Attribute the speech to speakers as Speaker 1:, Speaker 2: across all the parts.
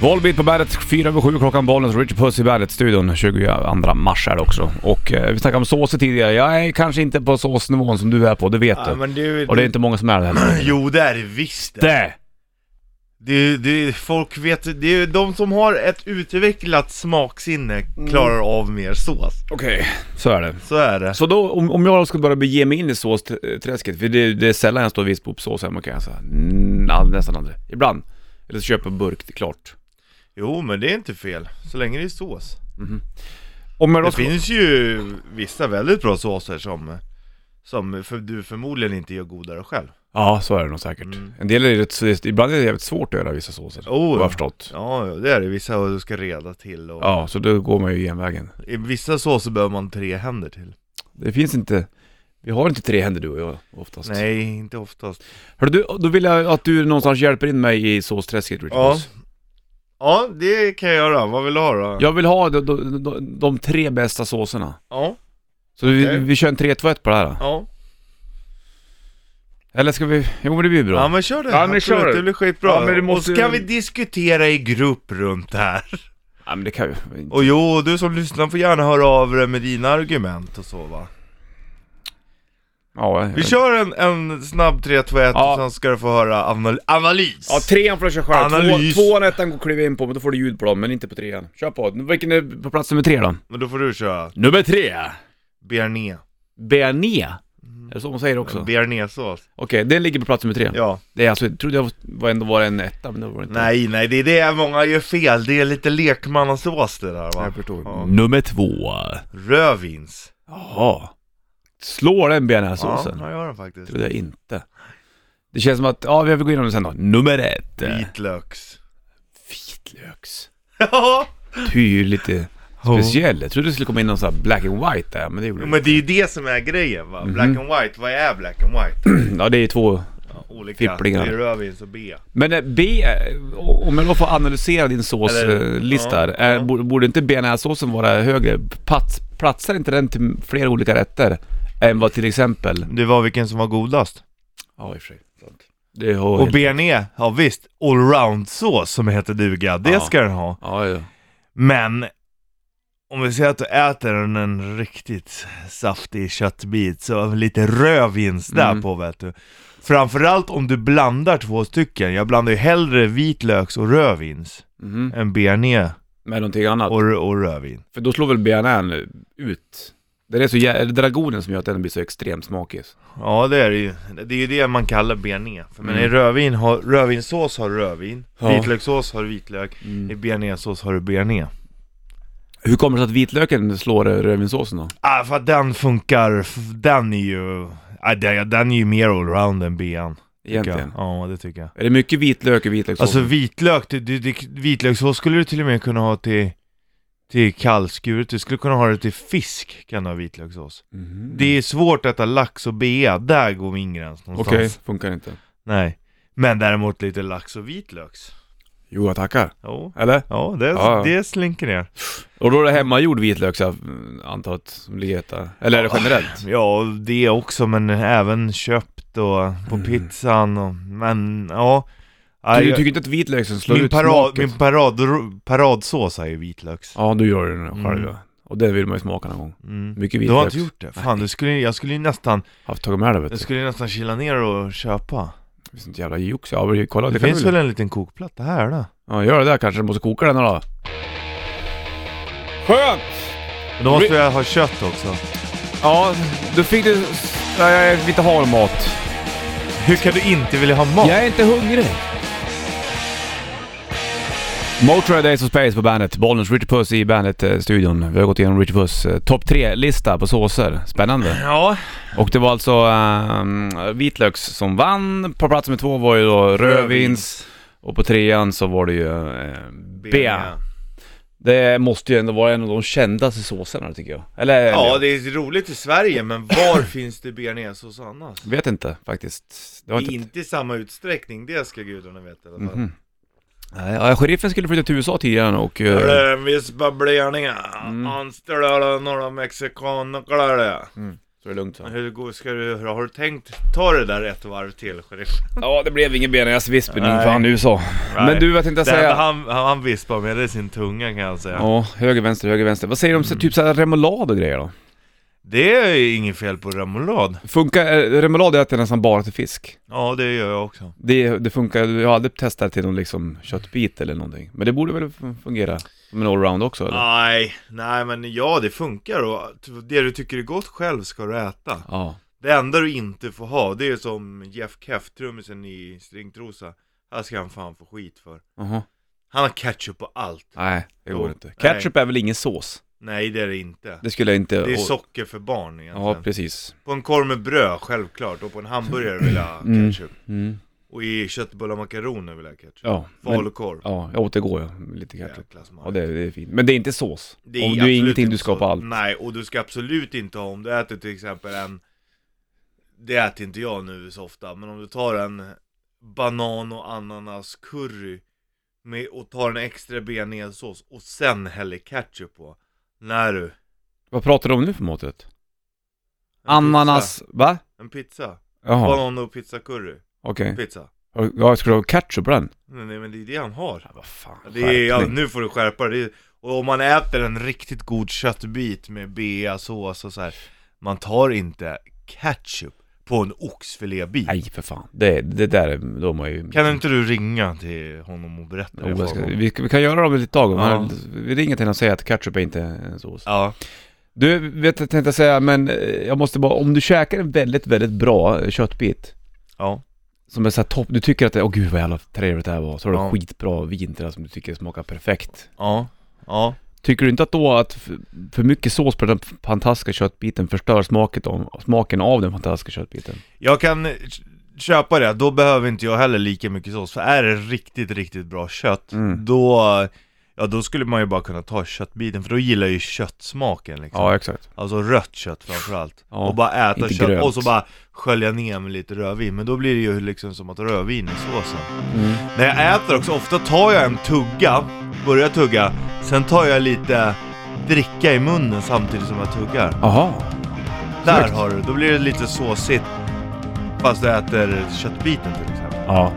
Speaker 1: Volbeat på Bandet, 4 över 7 klockan, Bollens Richard Puss i Bandet-studion 22 mars är det också. Och eh, vi snackade om såser tidigare, jag är kanske inte på såsnivån som du är på, det vet
Speaker 2: Ja,
Speaker 1: du.
Speaker 2: men du,
Speaker 1: Och det är inte många som är det heller.
Speaker 2: Jo det är det visst det!
Speaker 1: Det!
Speaker 2: Det, det, folk vet, det är ju de som har ett utvecklat smaksinne klarar av mer sås.
Speaker 1: Okej, så är det.
Speaker 2: Så är det.
Speaker 1: Så då, om, om jag skulle börja bege mig in i såsträsket, för det, det är sällan jag står och vispar upp sås hemma kan jag säga. Mm, all- nästan aldrig. Ibland. Eller så köper jag burk, det är klart.
Speaker 2: Jo men det är inte fel, så länge det är sås.
Speaker 1: Om jag då
Speaker 2: Det
Speaker 1: ska...
Speaker 2: finns ju vissa väldigt bra såser som, som för, du förmodligen inte gör godare själv.
Speaker 1: Ja, så är det nog säkert. En del är rätt, så- ibland är det jävligt svårt att göra vissa såser.
Speaker 2: Oh,
Speaker 1: har
Speaker 2: ja.
Speaker 1: jag förstått.
Speaker 2: Ja, ja, det är det. Vissa och du ska reda till och
Speaker 1: Ja, så då går man ju genvägen.
Speaker 2: i vissa såser behöver man tre händer till.
Speaker 1: Det finns inte... Vi har inte tre händer du och jag oftast.
Speaker 2: Nej, inte oftast.
Speaker 1: Hörru du, då vill jag att du någonstans hjälper in mig i såsträsket Richard
Speaker 2: Ja.
Speaker 1: Puss.
Speaker 2: Ja, det kan jag göra. Vad vill du ha då?
Speaker 1: Jag vill ha de, de, de, de tre bästa såserna.
Speaker 2: Ja,
Speaker 1: Så vi,
Speaker 2: Okej.
Speaker 1: vi kör en 3-2-1 på det här då.
Speaker 2: ja.
Speaker 1: Eller ska vi... Jo men det blir ju bra.
Speaker 2: Ja men kör det,
Speaker 1: Ja, men
Speaker 2: Absolut,
Speaker 1: kör det.
Speaker 2: det blir skitbra.
Speaker 1: Ja, men du måste-
Speaker 2: Och så kan vi diskutera i grupp runt det här.
Speaker 1: Ja men det kan ju...
Speaker 2: Och jo, du som lyssnar får gärna höra av dig med dina argument och så va.
Speaker 1: Ja,
Speaker 2: Vi kör en, en snabb 3, 2, 1
Speaker 1: Ja.
Speaker 2: och sen ska du få höra anal analys.
Speaker 1: Ja, trean får du köra själv.
Speaker 2: Analys.
Speaker 1: Två, tvåan och ettan går att kliva in på, men då får du ljud på dem, men inte på trean. Kör på. Vilken är på plats nummer tre då?
Speaker 2: Men då får du köra
Speaker 1: Nummer tre!
Speaker 2: bearnaise.
Speaker 1: Bearnaise. Är det så man säger också? Okej,
Speaker 2: Bearnaisesås.
Speaker 1: den ligger på plats nummer tre.
Speaker 2: Mm. Ja.
Speaker 1: Det är alltså, jag trodde jag var ändå var en etta, men det var det inte.
Speaker 2: Nej, nej, det är det många gör fel. Det är lite lekmannasås det där va.
Speaker 1: Jag förstår.
Speaker 2: Ja.
Speaker 1: Nummer två.
Speaker 2: Rödvins.
Speaker 1: Jaha. Slår den bearnaisesåsen?
Speaker 2: Ja, jag gör den faktiskt.
Speaker 1: trodde jag inte. Det känns som att, ja vi får gå igenom det sen då. Nummer ett.
Speaker 2: Vitlöks.
Speaker 1: Vitlöks.
Speaker 2: Ja!
Speaker 1: Du är ju lite speciell. Jag trodde det skulle komma in någon sån här black and white där, men det gjorde
Speaker 2: Jo,
Speaker 1: det
Speaker 2: Men det är ju det som är grejen
Speaker 1: Mhm.
Speaker 2: va. Black and white, vad är black and white?
Speaker 1: inte. Ja, det är ju två
Speaker 2: olika.
Speaker 1: Fipplingar.
Speaker 2: Det är rödvins och B.
Speaker 1: Men eh, B, eh, om jag då får analysera din
Speaker 2: Eller-
Speaker 1: såslista
Speaker 2: ja,
Speaker 1: här, är-
Speaker 2: ja.
Speaker 1: borde- borde inte bearnaisesåsen vara högre? Plats, platsar inte den till flera olika rätter än vad till exempel...
Speaker 2: Det var vilken som var godast.
Speaker 1: Ja, i och för sig. Det är och
Speaker 2: Och bearnaise, ja visst, allround-sås som heter duga, det
Speaker 1: Ja.
Speaker 2: ska den ha.
Speaker 1: Ja, ja.
Speaker 2: Men om vi säger att du äter en, en riktigt saftig köttbit, så lite rödvins där
Speaker 1: Mm.
Speaker 2: på vet du. Framförallt om du blandar två stycken, jag blandar ju hellre vitlöks och rödvins
Speaker 1: Mhm.
Speaker 2: än bearnaise
Speaker 1: Med någonting annat.
Speaker 2: och, och rödvin.
Speaker 1: För då slår väl bearnaisen ut? Det är så jä- är det dragonen som gör att den blir så extremt smakig.
Speaker 2: Ja det är det ju, det är ju det man kallar bearnaise. För men
Speaker 1: Mm.
Speaker 2: i rödvin har, rödvinssås har rödvin,
Speaker 1: Ja. Mm.
Speaker 2: vitlökssås har vitlök, I bearnaisesås har du bearnaise.
Speaker 1: Hur kommer det sig att vitlöken slår eh, rödvinssåsen då?
Speaker 2: Ah, för att den funkar, f- den är ju... Ah, den, den är ju mer allround än bean. tycker jag.
Speaker 1: Egentligen.
Speaker 2: Ja, det tycker jag.
Speaker 1: Är det mycket vitlök i vitlökssåsen?
Speaker 2: Alltså vitlök, det, det, det, vitlökssås skulle du till och med kunna ha till, till kallskuret. Du skulle kunna ha det till fisk, kan du ha vitlökssås.
Speaker 1: Mhm.
Speaker 2: Det är svårt att äta lax och bea, där går min gräns någonstans.
Speaker 1: Okej, funkar inte.
Speaker 2: Nej. Men däremot lite lax och vitlöks.
Speaker 1: Jo, jag tackar.
Speaker 2: Jo.
Speaker 1: Eller?
Speaker 2: Ja, det,
Speaker 1: Ja, ja.
Speaker 2: det slinker ner.
Speaker 1: Och då är det hemmagjord vitlök så jag mm, antar att som ligger i detta. Eller är det generellt?
Speaker 2: Ja, det också, men även köpt och på pizzan och, men ja.
Speaker 1: Mm. Du, du
Speaker 2: jag-
Speaker 1: tycker inte att vitlöken slår
Speaker 2: min
Speaker 1: ut
Speaker 2: parad,
Speaker 1: smaken?
Speaker 2: min parad, paradsås är ju vitlöks.
Speaker 1: Ja, du gör det själv
Speaker 2: Mm.
Speaker 1: ja. Och det vill man ju smaka någon gång.
Speaker 2: Mm.
Speaker 1: Mycket
Speaker 2: Du har
Speaker 1: vitlök.
Speaker 2: inte gjort det? Fan, du skulle, jag skulle ju nästan,
Speaker 1: Har tagit med det vet du.
Speaker 2: jag skulle ju nästan kila ner och köpa.
Speaker 1: Det är sånt jävla jox. Ja, vi- kolla.
Speaker 2: Det,
Speaker 1: Det, kan
Speaker 2: finns
Speaker 1: du...
Speaker 2: väl en liten kokplatta här då?
Speaker 1: Ja, gör det där kanske. Du måste koka den här då. Skönt!
Speaker 2: Men Då måste jag ha kött också.
Speaker 1: Ja, då fick du... Nej, jag vill inte ha mat.
Speaker 2: Hur kan du inte vilja ha mat?
Speaker 1: Jag är inte hungrig. Motörhead Days of Space på bandet. Bollnäs Richard Puss i bandet-studion. Vi har gått igenom Richard Puss eh, topp 3-lista på såser. Spännande.
Speaker 2: Ja,
Speaker 1: Och det var alltså ehm, vitlöks som vann. På plats nummer två var ju då rödvins. Och på trean så var det ju eh, bea. Det måste ju ändå vara en av de kändaste såserna tycker jag. Eller?
Speaker 2: Ja,
Speaker 1: eller-
Speaker 2: det är roligt i Sverige, men var finns det bearnaisesås annars?
Speaker 1: Vet inte faktiskt. Det har inte...
Speaker 2: Inte i samma utsträckning, det ska gudarna veta i alla fall.
Speaker 1: Mhm. Nej, ja, sheriffen skulle flytta till USA tidigare och... eh,
Speaker 2: Rödvinsbabbleringar,
Speaker 1: Mm.
Speaker 2: anställda några mexikaner,
Speaker 1: Så det är lugnt va?
Speaker 2: Hur går, ska du, har du tänkt ta det där ett varv till sheriff?
Speaker 1: Ja, det blev ingen benajazz-vispning
Speaker 2: Nej.
Speaker 1: fan i USA. Men du, vad tänkte jag
Speaker 2: Det här,
Speaker 1: säga?
Speaker 2: han, han, han vispar med det i sin tunga kan jag säga.
Speaker 1: Ja, höger, vänster, höger, vänster. Vad säger du om
Speaker 2: Mm.
Speaker 1: så- typ såhär remoulad och grejer då?
Speaker 2: Det är inget fel på remoulad.
Speaker 1: Funkar, eh, remoulad äter jag nästan bara till fisk.
Speaker 2: Ja, det gör jag också.
Speaker 1: Det, det funkar, jag har aldrig testat till någon liksom köttbit eller någonting. Men det borde väl fun- fungera som en allround också eller?
Speaker 2: Nej, nej men ja det funkar och t- det du tycker är gott själv ska du äta.
Speaker 1: Ja.
Speaker 2: Det enda du inte får ha, det är som Jeff Keff, trummisen i Stringtrosa. Här ska han fan få skit för.
Speaker 1: Jaha.
Speaker 2: Han har ketchup på allt.
Speaker 1: Nej, det går
Speaker 2: Jo.
Speaker 1: inte. Ketchup är väl ingen sås?
Speaker 2: Nej det är det inte.
Speaker 1: Det skulle jag inte...
Speaker 2: Det är
Speaker 1: och-
Speaker 2: socker för barn
Speaker 1: Ja,
Speaker 2: egentligen.
Speaker 1: precis.
Speaker 2: på en korv med bröd, självklart. Och på en hamburgare vill jag ha
Speaker 1: Mm.
Speaker 2: ketchup.
Speaker 1: Mm.
Speaker 2: Och i köttbullar och makaroner vill jag ha ketchup.
Speaker 1: Ja, men,
Speaker 2: Falukorv.
Speaker 1: ja, jag åt det igår ja. Lite ketchup.
Speaker 2: Jäkla smak.
Speaker 1: Ja, det, det är fint. Men det är inte sås.
Speaker 2: Det är
Speaker 1: Om du är
Speaker 2: absolut
Speaker 1: ingenting
Speaker 2: inte Mm.
Speaker 1: du ska
Speaker 2: så.
Speaker 1: på allt.
Speaker 2: Nej, och du ska absolut inte ha om du äter till exempel en Det äter inte jag nu så ofta, men om du tar en banan och ananas curry med, och tar en extra bearnaisesås och sen häller ketchup på När du
Speaker 1: Vad pratar du om nu för måttet?
Speaker 2: En
Speaker 1: Ananas,
Speaker 2: pizza.
Speaker 1: va?
Speaker 2: En pizza,
Speaker 1: Jaha, Mm.
Speaker 2: banan och pizza curry,
Speaker 1: okej.
Speaker 2: pizza
Speaker 1: Ja, jag skulle ha ketchup på den?
Speaker 2: Nej men det är det han har
Speaker 1: Ja, vad fan,
Speaker 2: det är, ja,
Speaker 1: skärpning.
Speaker 2: Nu får du skärpa dig, och om man äter en riktigt god köttbit med beasås och så här, Man tar inte ketchup på en oxfilébit
Speaker 1: Nej för fan, det, det där, är- då är man ju...
Speaker 2: Kan inte du ringa till honom och berätta
Speaker 1: Jo,
Speaker 2: det
Speaker 1: jag
Speaker 2: för
Speaker 1: ska,
Speaker 2: honom?
Speaker 1: vi, vi kan göra dem lite tag om.
Speaker 2: Ja.
Speaker 1: Vi ringer till henne och säger att ketchup är inte en sås.
Speaker 2: Ja,
Speaker 1: Du, vet jag tänkte säga, men eh, jag måste bara, om du käkar en väldigt, väldigt bra eh, köttbit
Speaker 2: ja,
Speaker 1: som är såhär topp, du tycker att det, åh gud vad jävla trevligt det här var, så har du
Speaker 2: Ja.
Speaker 1: skitbra vin till det som du tycker smakar perfekt.
Speaker 2: ja, ja
Speaker 1: Tycker du inte att då att f- för mycket sås på den fantastiska köttbiten förstör smaket om, smaken av den fantastiska köttbiten?
Speaker 2: Jag kan eh, köpa det, då behöver inte jag heller lika mycket sås För är det riktigt, riktigt bra kött
Speaker 1: Mm.
Speaker 2: Då, ja då skulle man ju bara kunna ta köttbiten För då gillar jag ju köttsmaken liksom
Speaker 1: Ja, exakt.
Speaker 2: Alltså rött kött framförallt
Speaker 1: Ja,
Speaker 2: Och bara äta
Speaker 1: inte
Speaker 2: kött
Speaker 1: grönt.
Speaker 2: och så bara skölja ner med lite rödvin Men då blir det ju liksom som att rödvin i såsen
Speaker 1: Mm.
Speaker 2: När jag äter också, ofta tar jag en tugga, börjar tugga, sen tar jag lite dricka i munnen samtidigt som jag tuggar.
Speaker 1: Aha.
Speaker 2: Där
Speaker 1: Snyggt.
Speaker 2: har du, då blir det lite såsigt. Fast du äter köttbiten till exempel.
Speaker 1: Ja.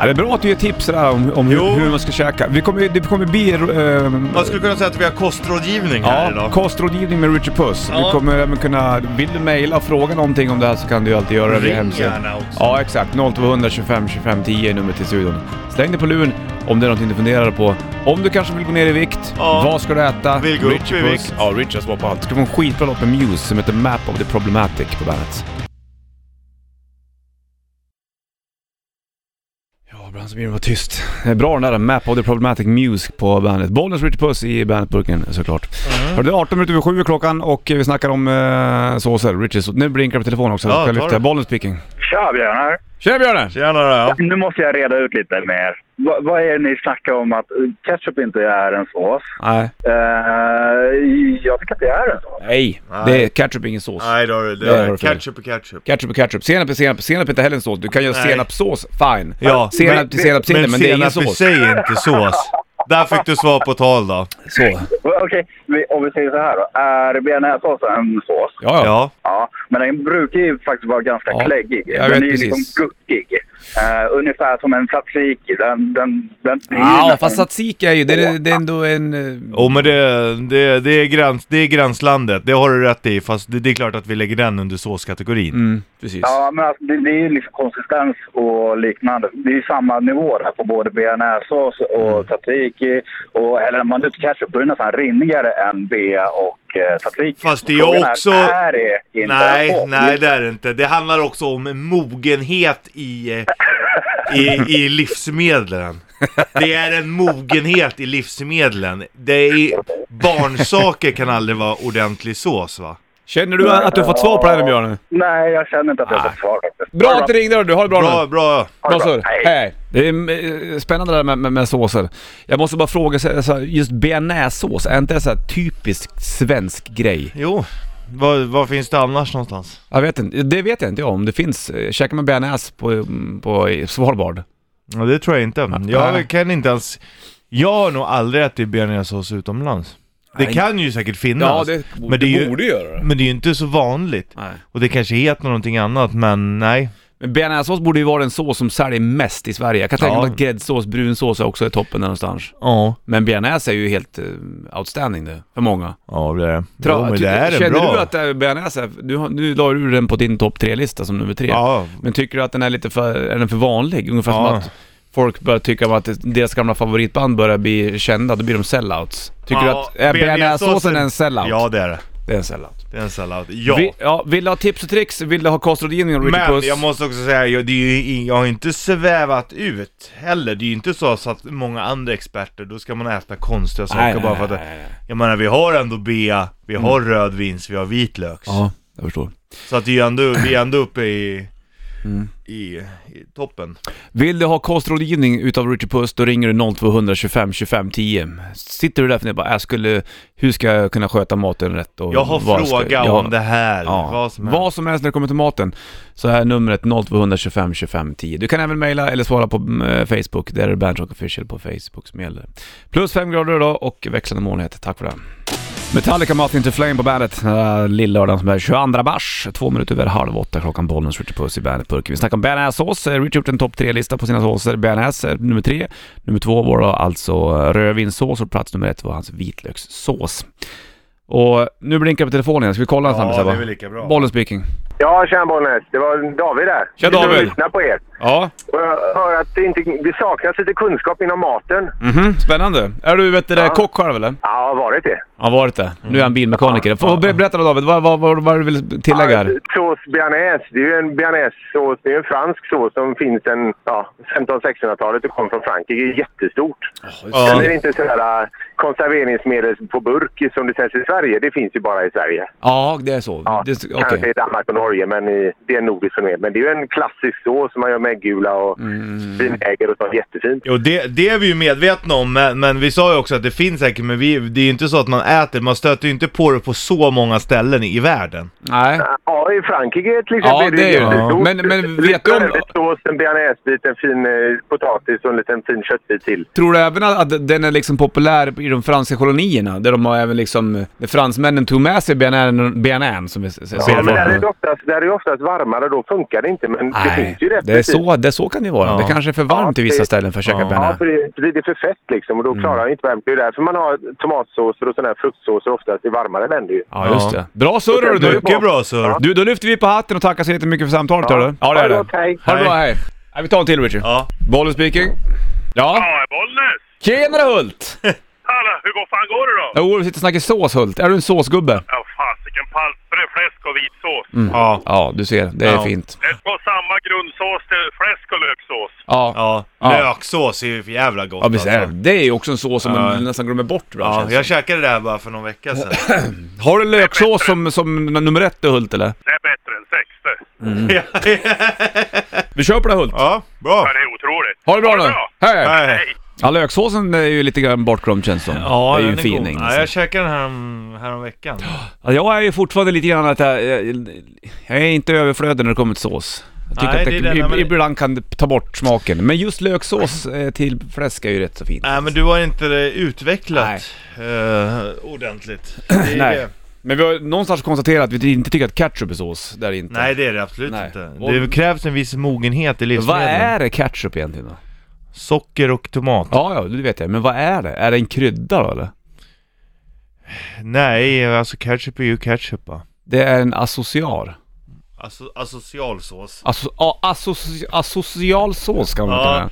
Speaker 1: ja. Det är bra att du ger tips där om, om
Speaker 2: Jo.
Speaker 1: hur, hur man ska käka. Vi kommer, ju- det kommer bli... ehm,
Speaker 2: Man skulle kunna säga att vi har kostrådgivning här
Speaker 1: Ja,
Speaker 2: idag.
Speaker 1: kostrådgivning med Richard Puss. Du
Speaker 2: Ja.
Speaker 1: kommer även kunna, vill du mejla och fråga någonting om det här så kan du ju alltid göra det via
Speaker 2: Ring
Speaker 1: hemsidan.
Speaker 2: gärna också.
Speaker 1: Ja, exakt. 0200 25 25 10 är numret till studion. Släng dig på luren om det är någonting du funderar på. Om du kanske vill gå ner i vikt,
Speaker 2: Ja.
Speaker 1: vad ska du äta?
Speaker 2: Vill gå upp i
Speaker 1: Puss.
Speaker 2: vikt.
Speaker 1: Ja, Richard svar på allt. Du ska få en skitbra låt med Muse som heter Map of the Problematic på bandet. Ja, ibland så blir det bara tyst. Det är bra den där Map of the Problematic Muse på bandet. Bollens Richard Puss i bandetburken såklart.
Speaker 2: Mm.
Speaker 1: Hörru, det är 18 minuter över 7 klockan och eh, vi snackar om eh, såser. Richard, så nu blinkar det på telefonen också.
Speaker 2: Ja,
Speaker 1: jag ska
Speaker 2: ta
Speaker 1: lyfta.
Speaker 2: det.
Speaker 1: Bollen speaking.
Speaker 3: Tja Björn här.
Speaker 1: Tjena Björne!
Speaker 2: Tjena då. ja.
Speaker 3: Nu måste jag reda ut lite med er. Va, vad är det ni snackar om att eh, ketchup inte är en sås?
Speaker 1: Nej.
Speaker 3: Eh, jag tycker att det är en sås.
Speaker 1: Nej,
Speaker 2: Nej.
Speaker 1: det är ketchup ingen sås.
Speaker 2: Nej då, det,
Speaker 1: Där
Speaker 2: det
Speaker 1: har du
Speaker 2: är
Speaker 1: fel.
Speaker 2: ketchup och ketchup.
Speaker 1: Ketchup är ketchup. Senap är senap. Senap är inte heller en sås. Du kan göra
Speaker 2: Nej.
Speaker 1: senapssås, fine.
Speaker 2: Ja,
Speaker 1: senap till senap, senap, men, det är ingen
Speaker 2: senap i
Speaker 1: sås.
Speaker 2: sig är inte sås. Där fick du svar på tal då.
Speaker 1: Så. Ja,
Speaker 3: Okej, vi- om vi säger så här då. Är bearnaisesås en sås?
Speaker 1: ja.
Speaker 2: Ja.
Speaker 3: Ja, men den brukar ju faktiskt vara ganska
Speaker 1: Ja,
Speaker 3: kläggig.
Speaker 1: jag
Speaker 3: den
Speaker 1: vet
Speaker 3: är ju
Speaker 1: precis.
Speaker 3: liksom guckig. Eh, ungefär som en tzatziki. Den, den, den är ju
Speaker 1: Ja,
Speaker 3: nästan-
Speaker 1: fast tzatziki är ju, det är, det är ändå en... eh,
Speaker 2: Jo men det, det, det, är gräns, det är gränslandet, det har du rätt i. Fast det, det är klart att vi lägger den under såskategorin.
Speaker 1: Mm, precis.
Speaker 3: Ja, men alltså, det, det är ju liksom konsistens och liknande. Det är ju samma nivå där på både bearnaisesås
Speaker 2: Mm.
Speaker 3: och tzatziki. Och, eller när man ut ketchup, då är det nästan rinnigare än bea och eh, tzatziki.
Speaker 2: Fast det är
Speaker 3: Frågan
Speaker 2: också-
Speaker 3: Är det inte en
Speaker 2: Nej,
Speaker 3: sås?
Speaker 2: nej det är det inte. Det handlar också om mogenhet i, eh, i, i livsmedlen. Det är en mogenhet i livsmedlen. Det är, barnsaker kan aldrig vara ordentlig sås va?
Speaker 1: Känner du att du har fått svar på det här Björne?
Speaker 3: Nej, jag känner inte att jag
Speaker 1: Nej.
Speaker 3: fått svar faktiskt.
Speaker 1: Bra att du ringde då, du. Ha det bra, nu.
Speaker 2: Bra, bra.
Speaker 1: Bra
Speaker 3: bra.
Speaker 1: surr.
Speaker 3: Hej.
Speaker 1: Hej. Det är eh, spännande det där med, med, med såser. Jag måste bara fråga, så här, så här, just bearnaisesås, är inte det så här typisk svensk grej?
Speaker 2: Jo, vad, vad finns det annars någonstans?
Speaker 1: Jag vet inte, det vet jag inte jag om det finns. Eh, Käkar man bearnaise på, mm, på i Svalbard?
Speaker 2: Ja, det tror jag inte.
Speaker 1: Nej.
Speaker 2: Jag kan inte ens... Jag har nog aldrig ätit bearnaisesås utomlands. Det
Speaker 1: Nej.
Speaker 2: kan ju säkert finnas.
Speaker 1: Ja, det,
Speaker 2: Men det är ju-
Speaker 1: borde göra det.
Speaker 2: Men det är ju inte så vanligt.
Speaker 1: Nej.
Speaker 2: Och det kanske heter någonting annat, men nej.
Speaker 1: Men bearnaisesås borde ju vara den sås som säljer mest i Sverige. Jag kan tänka
Speaker 2: Ja.
Speaker 1: mig att gräddsås, brunsås är också i toppen där någonstans.
Speaker 2: Ja,
Speaker 1: Men bearnaise är ju helt eh, outstanding det, för många.
Speaker 2: ja det är det.
Speaker 1: Tra-
Speaker 2: jo, men
Speaker 1: ty-
Speaker 2: det är en
Speaker 1: känner
Speaker 2: bra.
Speaker 1: du att eh, bearnaise, är- du, har- nu la du den på din topp tre-lista som nummer tre.
Speaker 2: Ja,
Speaker 1: Men tycker du att den är lite för, är den för vanlig? Ungefär som
Speaker 2: Ja.
Speaker 1: att folk börjar tycka om att deras gamla favoritband börjar bli kända, då blir de sellouts. Tycker du
Speaker 2: Ja,
Speaker 1: att är bearnaisesåsen är en sellout?
Speaker 2: ja det är det.
Speaker 1: Det är en sellout.
Speaker 2: Det är en sellout. Ja.
Speaker 1: Vi, ja, vill du ha tips och tricks? Vill du ha kostrådgivning och Richard
Speaker 2: Men
Speaker 1: Puss?
Speaker 2: jag måste också säga, jag, det är ju, ing- jag har inte svävat ut heller. Det är ju inte så så att många andra experter, då ska man äta konstiga saker
Speaker 1: nej, nej,
Speaker 2: bara för att...
Speaker 1: nej, nej, nej.
Speaker 2: Jag menar, vi har ändå bea, vi har rödvins, vi har vitlöks.
Speaker 1: Ja, jag förstår.
Speaker 2: Så att det är ju ändå, vi är ändå uppe i,
Speaker 1: Mm.
Speaker 2: i, i toppen.
Speaker 1: Vill du ha kostrådgivning utav Richard Puss, då ringer du 0200 25 25 10. Sitter du där och funderar bara, jag skulle, hur ska jag kunna sköta maten rätt? Och
Speaker 2: Jag har
Speaker 1: vad ska-
Speaker 2: fråga
Speaker 1: jag-
Speaker 2: om det här,
Speaker 1: Ja.
Speaker 2: vad som helst.
Speaker 1: Vad som helst när det kommer till maten. Så är numret 0225 25 10. Du kan även mejla eller svara på mm, Facebook. Där är det Bandrock Official på Facebook som gäller. Plus 5 grader idag och växlande molnighet. Tack för det. Metallica Moth Into Flame på bandet den här lillördagen som är 22 mars. Två minuter över halv åtta klockan. Bollnäs, Richard Puss i bandet-burken. Vi snackar om bearnaisesås. Eh, Richard har gjort en topp tre-lista på sina såser. Bearnaise är nummer tre. Nummer två var då alltså eh, rödvinssås och plats nummer ett var hans vitlökssås. Och nu blinkar det på telefonen igen. Ska vi kolla den snabbt
Speaker 2: Ja, det
Speaker 1: Sebbe?
Speaker 2: är väl lika bra.
Speaker 1: Bollen speaking.
Speaker 4: Ja, tjena Bollnäs. Det var David där.
Speaker 1: Tja,
Speaker 4: Jag sitter och
Speaker 1: David.
Speaker 4: lyssnar på er.
Speaker 1: Ja.
Speaker 4: Och jag hör att det, inte, det saknas lite kunskap inom maten.
Speaker 1: Mhm, spännande. Är du vet du, det, kock själv eller?
Speaker 4: Ja, har varit det.
Speaker 1: Ja, varit det. Nu är han bilmekaniker. Får ber- berätta då David, vad, vad, vad, vad du vill tillägga här?
Speaker 4: Sås bearnaise. Det är ju en bearnaisesås. Det är ju en fransk sås som finns sedan ja, 1500-1600-talet och kom från Frankrike. Jättestort.
Speaker 2: Ja.
Speaker 4: Sen är det inte sådär äh, konserveringsmedel på burk som det säljs i Sverige. Det finns ju bara i Sverige.
Speaker 1: Ja, det är så.
Speaker 4: Ja,
Speaker 1: Det, är- okej.
Speaker 4: Kanske i Danmark och Norge, men i, det är en nordisk fenomen. Men det är ju en klassisk sås som man gör med äggula och
Speaker 1: Mm.
Speaker 4: vinäger och sånt. Jättefint.
Speaker 2: Jo, det, det är vi ju medvetna om, men, men vi sa ju också att det finns säkert, men vi, det är ju inte så att man äter, man stöter ju inte på det på så många ställen i världen.
Speaker 1: Nej.
Speaker 4: Ja, i Frankrike till exempel
Speaker 1: Ja, det är ju det.
Speaker 4: jättestort.
Speaker 1: Men- men vet du om-
Speaker 4: Lite sås, en bearnaisebit, en fin eh, potatis och en liten fin köttbit till.
Speaker 1: Tror du även att att den är liksom populär i de franska kolonierna? Där de har även liksom, där fransmännen tog med sig BNN, BNN som vi säger.
Speaker 4: Ja, men där är, det oftast, där är det oftast varmare, då funkar det inte. Men det
Speaker 1: Nej,
Speaker 4: finns ju det.
Speaker 1: det är så, det är så kan det vara.
Speaker 2: Ja.
Speaker 1: Det kanske är för varmt i vissa ställen för att käka
Speaker 2: Ja.
Speaker 1: bearnaise.
Speaker 4: Ja, för det, för det är för fett liksom och då
Speaker 1: Mm.
Speaker 4: klarar han ju inte värmen. Det är därför man har tomatsåser och sådana här fruktsåser oftast i varmare länder ju.
Speaker 1: Ja, just det. Bra surr
Speaker 4: Det är
Speaker 1: du!
Speaker 4: bra.
Speaker 2: Mycket bra sir.
Speaker 1: Du, då lyfter vi på hatten och tackar så jättemycket för samtalet
Speaker 4: Ja.
Speaker 1: hörru. Ja, det
Speaker 4: Ha
Speaker 1: är
Speaker 4: det
Speaker 1: det.
Speaker 4: gott, hej.
Speaker 1: Ha det bra, hej. Nej, vi tar en till Richard.
Speaker 2: Ja.
Speaker 1: Bollen speaking. Ja.
Speaker 5: Ja, Bollnäs!
Speaker 1: Tjenare Hult!
Speaker 5: Hallå, hur går fan går det då?
Speaker 1: Jo, vi sitter och snackar sås Hult. Är du en såsgubbe?
Speaker 5: Ja, fasiken paltbröd, fläsk och vitsås.
Speaker 2: Ja.
Speaker 1: Ja, du ser. Det är
Speaker 2: Ja.
Speaker 1: fint.
Speaker 5: Ett och samma grundsås till fläsk och löksås.
Speaker 1: Ja. ja.
Speaker 2: Ja.
Speaker 1: Ja.
Speaker 2: Löksås är ju för jävla gott alltså.
Speaker 1: visst är det. Det är ju också en sås som man nästan glömmer bort ibland,
Speaker 2: Ja,
Speaker 1: känns
Speaker 2: jag käkade det här bara för någon vecka sedan.
Speaker 1: det. Har du löksås som, som nummer ett då, Hult eller?
Speaker 5: Det är bättre än sex det.
Speaker 1: Mm. Vi kör på det Hult.
Speaker 2: ja, bra.
Speaker 5: Men det är otroligt.
Speaker 1: Ha det bra nu. Hej! hej.
Speaker 2: Nej.
Speaker 5: Hej!
Speaker 1: Ja, löksåsen är ju lite grann bortglömd känns det som.
Speaker 2: Ja,
Speaker 1: det är ju
Speaker 2: den
Speaker 1: en fining.
Speaker 2: god.
Speaker 1: liksom.
Speaker 2: Ja, jag käkade den här, om- här om veckan.
Speaker 1: Ja, jag är ju fortfarande lite grann att jag, jag, jag är inte överflödig när det kommer till sås. Jag tycker
Speaker 2: Nej, det är
Speaker 1: att det,
Speaker 2: det,
Speaker 1: ib-
Speaker 2: men-
Speaker 1: ibland kan det ta bort smaken. Men just löksås eh, till fläsk är ju rätt så fint.
Speaker 2: Nej, men du har inte det utvecklat eh, ordentligt. Det är
Speaker 1: Nej.
Speaker 2: det.
Speaker 1: Men vi har någonstans konstaterat att vi inte tycker att ketchup är sås. Det är det inte.
Speaker 2: Nej, det är det absolut
Speaker 1: Nej.
Speaker 2: inte.
Speaker 1: Och-
Speaker 2: Det krävs en viss mogenhet i
Speaker 1: Vad
Speaker 2: livsmedlen.
Speaker 1: är det ketchup egentligen då?
Speaker 2: Socker och tomat.
Speaker 1: Ja, ja, det vet jag. Men vad är det? Är det en krydda då eller?
Speaker 2: Nej, alltså ketchup är ju ketchup va?
Speaker 1: Det är en associar.
Speaker 2: Alltså, asocial sås.
Speaker 1: Asso- a- associ- Asocial sås kan man
Speaker 2: Ja.
Speaker 1: kalla det.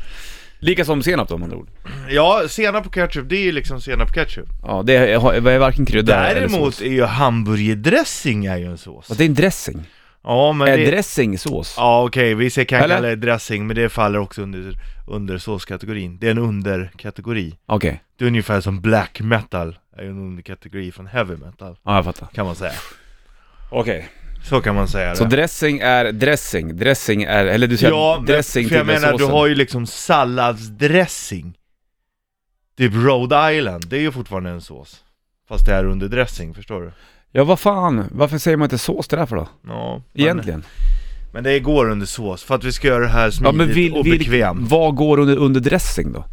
Speaker 1: Lika som senap då om man ord.
Speaker 2: Ja, senap på ketchup, det är ju liksom senap ketchup.
Speaker 1: Ja, det är, det är varken krydda eller
Speaker 2: Däremot
Speaker 1: sås.
Speaker 2: är ju hamburgerdressing är ju en sås.
Speaker 1: Ja, Det är en dressing.
Speaker 2: Ja, men
Speaker 1: Är
Speaker 2: det...
Speaker 1: dressing sås?
Speaker 2: Ja, okej, vi ser kanske
Speaker 1: Eller?
Speaker 2: eller dressing, men det faller också under, under såskategorin. Det är en underkategori.
Speaker 1: Okej.
Speaker 2: Det är ungefär som black metal, är ju en underkategori från heavy metal,
Speaker 1: Ja, jag fattar.
Speaker 2: kan man säga.
Speaker 1: Okej.
Speaker 2: Så kan man säga
Speaker 1: Så
Speaker 2: det.
Speaker 1: dressing är dressing, dressing är, eller du säger
Speaker 2: Ja, men, för
Speaker 1: dressing
Speaker 2: jag
Speaker 1: till
Speaker 2: menar, du
Speaker 1: såsen.
Speaker 2: har ju liksom salladsdressing. Typ Rhode Island, det är ju fortfarande en sås. Fast det är under dressing, förstår du?
Speaker 1: Ja, vad fan, varför säger man inte sås till det här för då?
Speaker 2: Ja, men-
Speaker 1: Egentligen.
Speaker 2: Men det går under sås, för att vi ska göra det här
Speaker 1: ja,
Speaker 2: smidigt
Speaker 1: men vil,
Speaker 2: och
Speaker 1: vil-
Speaker 2: bekvämt.
Speaker 1: vad går under, under dressing då?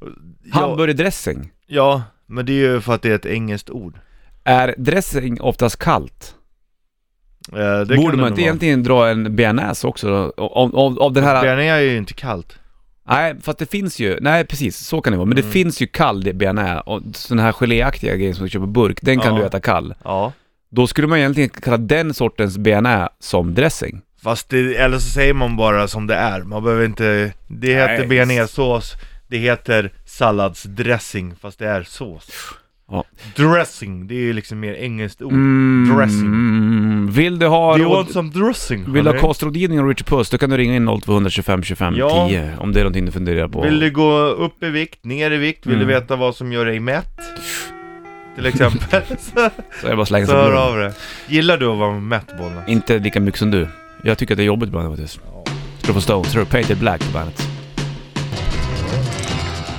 Speaker 2: Ja,
Speaker 1: Hamburgerdressing?
Speaker 2: Ja, Men det är ju för att det är ett engelskt ord.
Speaker 1: Är dressing oftast kallt?
Speaker 2: Eh, det
Speaker 1: Borde
Speaker 2: kan det
Speaker 1: man
Speaker 2: nog
Speaker 1: inte
Speaker 2: vara.
Speaker 1: egentligen dra en bearnaise också då? Av, av, av den här...
Speaker 2: Bearnaise är ju inte kallt.
Speaker 1: Nej, för att det finns ju... Nej, precis. Så kan det vara. Men det
Speaker 2: Mm.
Speaker 1: finns ju kall bearnaise. Och sån här geléaktiga grejer som du köper i burk, den kan
Speaker 2: Ja.
Speaker 1: du äta kall.
Speaker 2: Ja.
Speaker 1: Då skulle man egentligen kalla den sortens bearnaise som dressing.
Speaker 2: Fast det, eller så säger man bara som det är. Man behöver inte... Det heter
Speaker 1: Nej.
Speaker 2: bearnaisesås. Det heter salladsdressing, fast det är sås.
Speaker 1: Ja.
Speaker 2: Dressing, det är ju liksom mer engelskt ord.
Speaker 1: Mm,
Speaker 2: Dressing.
Speaker 1: mm, Vill du ha...
Speaker 2: Do you
Speaker 1: råd-
Speaker 2: want some dressing?
Speaker 1: Vill du ha
Speaker 2: honey?
Speaker 1: kostrådgivning av Richard Puss, då kan du ringa in 0225 25
Speaker 2: Ja.
Speaker 1: 10 om det är någonting du funderar på.
Speaker 2: Vill du gå upp i vikt, ner i vikt? Vill
Speaker 1: Mm.
Speaker 2: du veta vad som gör dig mätt? Till exempel. så,
Speaker 1: Så är det bara att slänga
Speaker 2: så
Speaker 1: sig
Speaker 2: hör
Speaker 1: på
Speaker 2: av dig. Gillar du att vara mätt, Bollnäs?
Speaker 1: Inte lika mycket som du. Jag tycker att det är jobbigt ibland faktiskt. Slå på Stones, tror du Painted Black på bandet.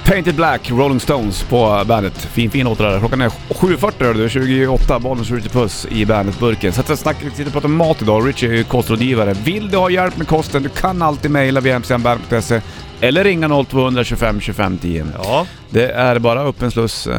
Speaker 1: Painted Black, Rolling Stones på bandet. Fin fin låt det där. Klockan är 7.40 hör du, 28, bollen skjuter puss i bandet-burken. Satt och snackade lite och pratade om mat idag. Richie är ju kostrådgivare. Vill du ha hjälp med kosten, du kan alltid mejla via mcmbandet.se eller ringa 0200 25 25 10.
Speaker 2: Ja.
Speaker 1: Det är bara öppen sluss eh,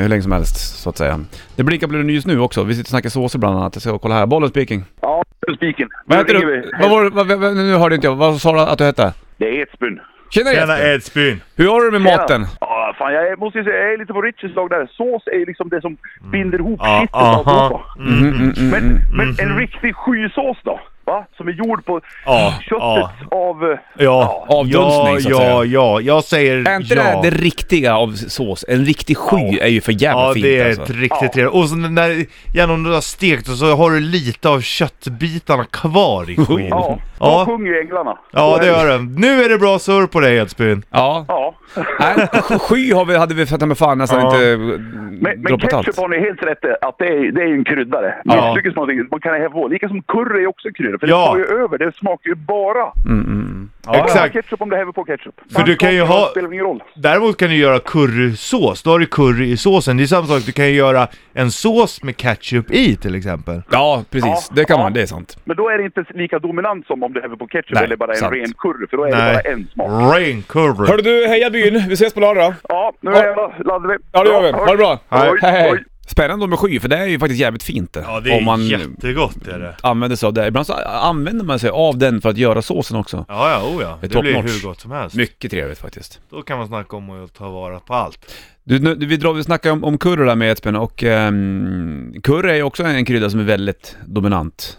Speaker 1: hur länge som helst, så att säga. Det blinkar blir det nyss nu också. Vi sitter och snackar såser bland annat. Jag ska kolla här. Bollen speaking.
Speaker 6: Ja, spiken.
Speaker 1: Vad heter
Speaker 6: Nu ringer
Speaker 1: du?
Speaker 6: vi.
Speaker 1: Vad var, det- vad, vad, nu hörde inte jag. Vad sa du att du hette?
Speaker 6: Det är Edsbyn.
Speaker 1: Tjena
Speaker 2: Tjena eh,
Speaker 1: Jesper!
Speaker 2: Edsbyn!
Speaker 1: Hur har du det med maten?
Speaker 6: Ja, fan jag är, måste ju säga, jag är lite på Richies lag där. Sås är ju liksom det som binder ihop
Speaker 2: Ja,
Speaker 6: kittet
Speaker 2: aha.
Speaker 6: alltihopa.
Speaker 1: Mm, mm, mm,
Speaker 6: Men,
Speaker 1: mm.
Speaker 6: men en riktig skysås då? Va? Som är gjord på
Speaker 2: Ja, ja.
Speaker 6: köttet av... eh,
Speaker 2: Ja,
Speaker 1: Avdunstning,
Speaker 2: ja,
Speaker 1: så att
Speaker 2: ja,
Speaker 1: säga.
Speaker 2: ja, jag säger
Speaker 1: Är inte
Speaker 2: ja.
Speaker 1: det det riktiga av sås? En riktig sky är ju för jävla
Speaker 2: Ja,
Speaker 1: fint
Speaker 2: det är ett
Speaker 1: alltså.
Speaker 2: riktigt trevligt. Och så när, gärna om du har stekt och så har du lite av köttbitarna kvar i skyn.
Speaker 6: Ja,
Speaker 2: Ja.
Speaker 6: ja. de sjunger ju änglarna.
Speaker 2: Ja,
Speaker 6: Så
Speaker 2: det
Speaker 6: är
Speaker 2: gör den. Nu är det bra surr på dig Edsbyn.
Speaker 1: Ja.
Speaker 6: Ja.
Speaker 1: Nej, sky har vi, hade vi fatta med fan nästan
Speaker 2: Ja.
Speaker 1: inte eh,
Speaker 6: Men, men
Speaker 1: droppat
Speaker 6: ketchup
Speaker 1: allt.
Speaker 6: har ni helt rätt i, att det är, det är ju en kryddare.
Speaker 2: Ja.
Speaker 6: Misslyckas man någonting, man kan häva på. Lika som curry är också en krydda, för
Speaker 2: Ja.
Speaker 6: det tar ju över. Det smakar ju bara.
Speaker 1: Mm, mm, mm.
Speaker 6: Du kan
Speaker 2: Exakt.
Speaker 6: ha ketchup om du häver på ketchup.
Speaker 2: För du kan ju
Speaker 6: Pannkakor
Speaker 2: ha-
Speaker 6: spelar ingen roll.
Speaker 2: Däremot kan du göra currysås. Då har du curry i såsen. Det är samma sak, du kan ju göra en sås med ketchup i till exempel.
Speaker 1: Ja, precis.
Speaker 6: Ja,
Speaker 1: Det kan
Speaker 6: ja.
Speaker 1: man. Det är sant.
Speaker 6: Men då är det inte lika dominant som om du häver på ketchup
Speaker 1: Nej,
Speaker 6: eller bara en
Speaker 1: sant.
Speaker 6: ren curry, för då är
Speaker 2: Nej.
Speaker 6: det bara en smak.
Speaker 2: Rain curry.
Speaker 1: Hörru du, heja byn! Vi ses på lördag!
Speaker 6: Ja, nu är jag, laddar vi.
Speaker 1: Ja, det gör vi. Ha det bra!
Speaker 2: Hej.
Speaker 1: Hej, hej.
Speaker 6: Oj.
Speaker 1: Spännande med sky, för det är ju faktiskt jävligt fint det.
Speaker 2: Ja, det är
Speaker 1: Om man
Speaker 2: jättegott är det.
Speaker 1: använder sig av det. Ibland så använder man sig av den för att göra såsen också.
Speaker 2: Ja, ja, oh ja.
Speaker 1: Det är
Speaker 2: Det, blir
Speaker 1: top notch.
Speaker 2: hur gott som helst.
Speaker 1: Mycket trevligt faktiskt.
Speaker 2: Då kan man snacka om att ta vara på allt.
Speaker 1: Du, nu, vi, drar, vi snackade om, om curry där med Espen och um, curry är ju också en krydda som är väldigt dominant.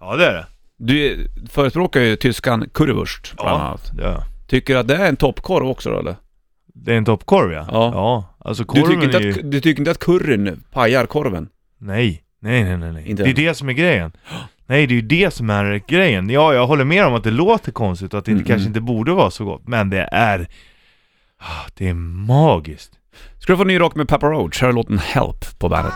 Speaker 2: Ja, det är det.
Speaker 1: Du förespråkar ju tyskan currywurst bland
Speaker 2: Ja,
Speaker 1: annat.
Speaker 2: det är det.
Speaker 1: Tycker du att det är en toppkorv också då eller?
Speaker 2: Det är en toppkorv ja.
Speaker 1: Ja.
Speaker 2: Alltså
Speaker 1: Du
Speaker 2: korven
Speaker 1: tycker, inte
Speaker 2: är ju...
Speaker 1: att, du tycker inte att curryn pajar korven?
Speaker 2: Nej. Nej, nej, nej, nej.
Speaker 1: Inte
Speaker 2: Det är
Speaker 1: än.
Speaker 2: det som är grejen. Nej, det är ju det som är grejen. Ja, jag håller med om att det låter konstigt och att det
Speaker 1: Mm,
Speaker 2: kanske
Speaker 1: mm.
Speaker 2: inte borde vara så gott, men det är... Ah, Det är magiskt.
Speaker 1: Ska du få ny rock med Papa Roach? Här är låten Help på bandet.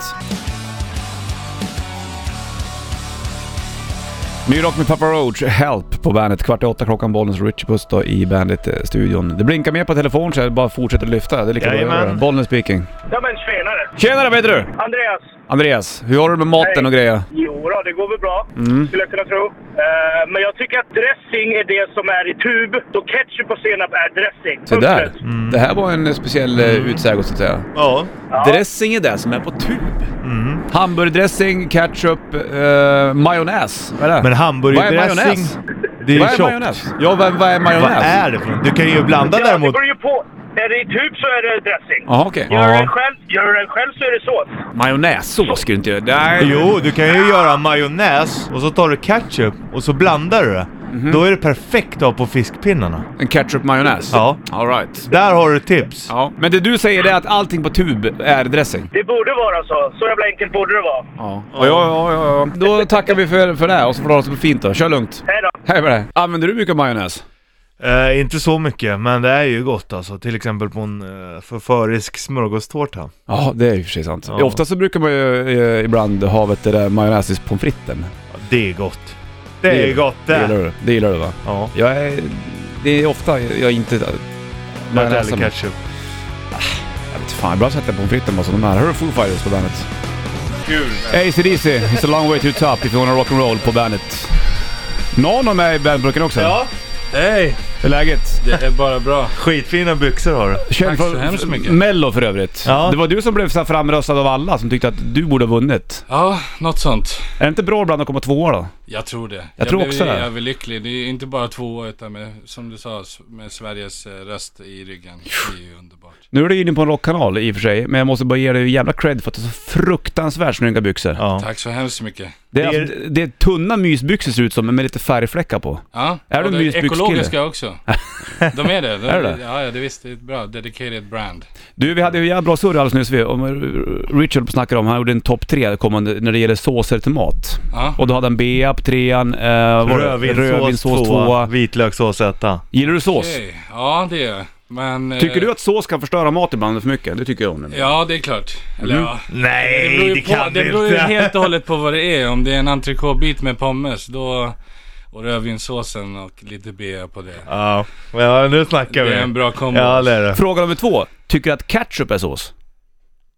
Speaker 1: Ny rock med Papa Roach, Help på bandet. Kvart i åtta klockan, Bollnäs och Richie Puss då i bandet-studion. Det blinkar mer på telefon så jag bara fortsätter lyfta. Det är lika bra att
Speaker 2: Jajamän.
Speaker 1: göra det. Bollnäs speaking.
Speaker 7: Ja men tjenare!
Speaker 1: Tjenare, vad heter du?
Speaker 7: Andreas!
Speaker 1: Andreas, hur har du det med maten och grejer?
Speaker 7: Jo då, det går väl bra, skulle jag kunna tro. Eh, men jag tycker att dressing är det som är i tub, då ketchup och senap är dressing.
Speaker 1: Se där.
Speaker 7: Punkt slut.
Speaker 1: Det här var en speciell mm. utsägo så att säga.
Speaker 2: Ja. Mm.
Speaker 1: Dressing är det som är på tub. Hamburgardressing, ketchup, eh, majonnäs. Vad är det?
Speaker 2: Men
Speaker 1: Vad är
Speaker 2: hamburgerdressing,
Speaker 1: majonnäs?
Speaker 2: det är ju
Speaker 1: vad är
Speaker 2: tjockt.
Speaker 1: majonnäs? Ja, vad, vad är
Speaker 2: Vad
Speaker 1: majonnäs?
Speaker 2: är det för något? Du kan ju blanda
Speaker 7: Ja, det
Speaker 2: däremot...
Speaker 7: beror ju på. Är det i tub så är det dressing.
Speaker 1: Jaha, okej.
Speaker 7: Gör,
Speaker 2: Ja.
Speaker 7: den själv, gör den själv så är det sås.
Speaker 1: Majonnässås skulle du inte göra. Nej.
Speaker 2: Jo, du kan ju göra majonnäs och så tar du ketchup och så blandar du det.
Speaker 1: Mhm.
Speaker 2: Då är det perfekt att ha på fiskpinnarna.
Speaker 1: En ketchup-majonnäs?
Speaker 2: Ja.
Speaker 1: All right.
Speaker 2: Där har du tips.
Speaker 1: Ja. Men det du säger är att allting på tub är dressing?
Speaker 7: Det borde vara så. Så jävla enkelt borde det vara.
Speaker 1: Ja. Ja, ja, ja, ja. Då tackar vi för, för det och så får du ha det så fint då. Kör lugnt.
Speaker 7: Hej då!
Speaker 1: Hej med dig. Använder du mycket majonnäs?
Speaker 2: Eh, inte så mycket, men det är ju gott alltså. Till exempel på en uh, förförisk smörgåstårta.
Speaker 1: Ja, det är ju för sig sant.
Speaker 2: Ja.
Speaker 1: Ofta så brukar man ju eh, ibland ha vet, det där majonnäs i pommes fritesen.
Speaker 2: Ja, det är gott. Det, är gott
Speaker 1: Det
Speaker 2: det.
Speaker 1: gillar du, det gillar du va?
Speaker 2: Ja.
Speaker 1: Jag är... Det är ofta jag inte...
Speaker 2: Nöt
Speaker 1: Majonnäs
Speaker 2: eller
Speaker 1: som-
Speaker 2: ketchup.
Speaker 1: Jag vet fan, ibland sätter jag pommes fritesen bara som de är. Hör du Foo Fighters på bandet? Kul! ACDC, It's a long way to the top if you wanna rock and roll på bandet. Någon är med i bandburken också.
Speaker 2: Hej!
Speaker 1: Hur är läget?
Speaker 8: Det är bara bra.
Speaker 2: Skitfina byxor har du.
Speaker 1: Känd
Speaker 8: Tack så hemskt mycket.
Speaker 1: Mello för övrigt.
Speaker 2: Ja.
Speaker 1: Det var du som blev så här framröstad av alla som tyckte att du borde ha vunnit.
Speaker 8: Ja, något sånt.
Speaker 1: Är det inte bra ibland att komma tvåa då?
Speaker 8: Jag tror det. Jag,
Speaker 1: tror
Speaker 8: blev
Speaker 1: också det.
Speaker 8: överlycklig. Det är inte bara två utan med, som du sa, s- med Sveriges eh, röst i ryggen. Det är ju underbart.
Speaker 1: Nu är du inne på en rockkanal i och för sig, men jag måste bara ge dig jävla cred för att du har så fruktansvärt snygga byxor.
Speaker 2: Ja.
Speaker 8: Tack så hemskt mycket.
Speaker 1: Det, är,
Speaker 2: Det är-
Speaker 1: alltså- det är tunna mysbyxor ser det ut som, med lite färgfläckar på.
Speaker 8: Ja,
Speaker 1: Är du
Speaker 8: och
Speaker 1: en
Speaker 8: det
Speaker 1: mysbyxkille?
Speaker 8: ekologiska också. De är det. De,
Speaker 1: Är det?
Speaker 8: Ja, ja, det visst. Det är ett bra dedicated brand.
Speaker 1: Du, vi hade ju jävla bra surr alldeles nyss. vi- Om Richard snackade om, han gjorde en topp tre kommande när det gäller såser till mat.
Speaker 8: Ja.
Speaker 1: Och då hade han bea på trean, eh, vad var det?
Speaker 2: Rödvinssås tvåa, vitlökssås etta.
Speaker 1: Gillar du sås?
Speaker 8: Okej. eh. Ja, det är Men...
Speaker 1: Tycker
Speaker 8: eh,
Speaker 1: du att sås kan förstöra mat ibland för mycket? Det tycker jag om.
Speaker 8: Ja, det är klart. Eller ja. Det
Speaker 2: Nej,
Speaker 8: beror ju
Speaker 2: det
Speaker 8: på,
Speaker 2: kan
Speaker 8: det
Speaker 2: du
Speaker 8: beror ju
Speaker 2: inte.
Speaker 8: helt och hållet på vad det är. Om det är en entrecôtebit med pommes då, och rödvinssåsen och lite bea på det.
Speaker 2: Ja, men ja, nu snackar vi.
Speaker 8: Det är en bra kombo.
Speaker 2: Ja, det är det.
Speaker 1: Fråga nummer två. Tycker du att ketchup är sås?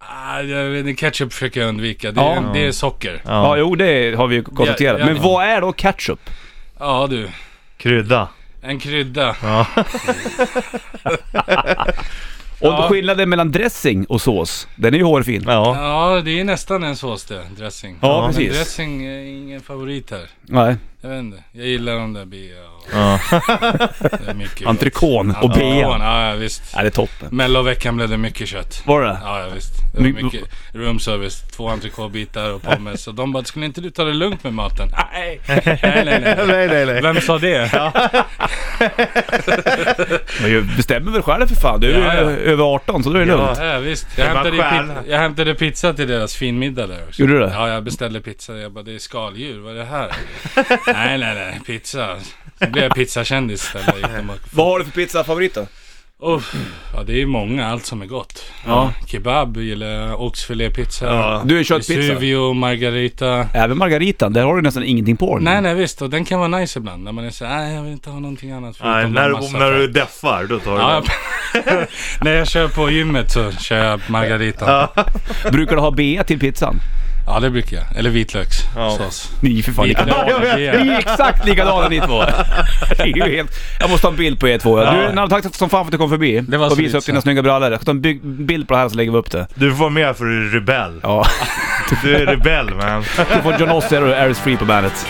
Speaker 8: Ah, jag vet inte, ketchup försöker jag undvika. Det,
Speaker 1: Ja.
Speaker 8: är, det är socker. Ja,
Speaker 1: Ja, jo det har vi ju konstaterat.
Speaker 8: Ja, ja.
Speaker 1: Men vad är då ketchup?
Speaker 8: du.
Speaker 2: Krydda.
Speaker 8: En krydda.
Speaker 1: Och skillnaden mellan dressing och sås, den är ju hårfin.
Speaker 2: Ja.
Speaker 8: Ja, det är nästan en sås det. Dressing.
Speaker 1: Ja,
Speaker 8: Men
Speaker 1: precis.
Speaker 8: dressing är ingen favorit här.
Speaker 1: Nej.
Speaker 8: Jag vet inte. Jag gillar de där bea och...
Speaker 2: Ja.
Speaker 8: det är mycket gott.
Speaker 1: Entrecôte och
Speaker 8: Entrecôte,
Speaker 1: bea.
Speaker 8: Ja, ja, visst.
Speaker 1: Ja, det är toppen.
Speaker 8: Melloveckan blev det mycket kött.
Speaker 1: Var det?
Speaker 8: Ja, ja visst. Det var
Speaker 1: My-
Speaker 8: mycket room service, två entrecôtebitar och pommes. Och de bara, skulle inte du ta det lugnt med maten? Nej, nej, nej. nej.
Speaker 2: nej, nej, nej.
Speaker 8: Vem sa det?
Speaker 1: Men ju bestämmer väl själv för fan. Du är ju
Speaker 8: Ja, ja.
Speaker 1: över 18 så då är det lugnt.
Speaker 8: Ja, visst. Jag
Speaker 2: Det var
Speaker 8: hämtade,
Speaker 2: själv.
Speaker 8: pizza, jag hämtade pizza till deras finmiddag där också.
Speaker 1: Gjorde du det?
Speaker 8: Ja, jag beställde pizza. Jag bara, det är skaldjur. Vad är det här? nej, nej, nej. Pizza. Så blev jag pizzakändis istället. Jag gick och bara,
Speaker 1: Vad har du för pizzafavorit då?
Speaker 8: Uff. ja, det är ju många. Allt som är gott.
Speaker 1: Ja.
Speaker 8: Kebab gillar jag. Oxfilépizza.
Speaker 2: Ja.
Speaker 1: Du är köttpizza.
Speaker 8: Vesuvio, margarita.
Speaker 1: Även margaritan, där har du nästan ingenting på den.
Speaker 8: Nej, nej visst. Och den kan vara nice ibland. När man är såhär, nej jag vill inte ha någonting annat. förutom
Speaker 2: Nej,
Speaker 8: en
Speaker 2: när,
Speaker 8: massa
Speaker 2: om, när du
Speaker 8: fett."
Speaker 2: deffar, då tar du
Speaker 8: Ja,
Speaker 2: den.
Speaker 8: jag- när jag kör på gymmet så kör jag margarita. Ja,
Speaker 1: Brukar du ha bea till pizzan?
Speaker 8: det brukar jag. Eller vitlökssås.
Speaker 1: Ni är för fan likadana.
Speaker 8: Likadana, det
Speaker 1: Ni
Speaker 8: är-
Speaker 1: är exakt likadana ni två. Det är ju helt... Jag måste ha en bild på er två. Du, Nanne, tack som fan för att du kom förbi
Speaker 8: Det var
Speaker 1: och
Speaker 8: så
Speaker 1: visade upp
Speaker 8: lite
Speaker 1: dina
Speaker 8: så.
Speaker 1: snygga brallor. Jag ska ta en by- bild på det här så lägger vi upp det.
Speaker 2: Du får vara med för du är rebell.
Speaker 1: Ja.
Speaker 2: Du är rebell man.
Speaker 1: Du får John Ossie och Aris Free på bandet.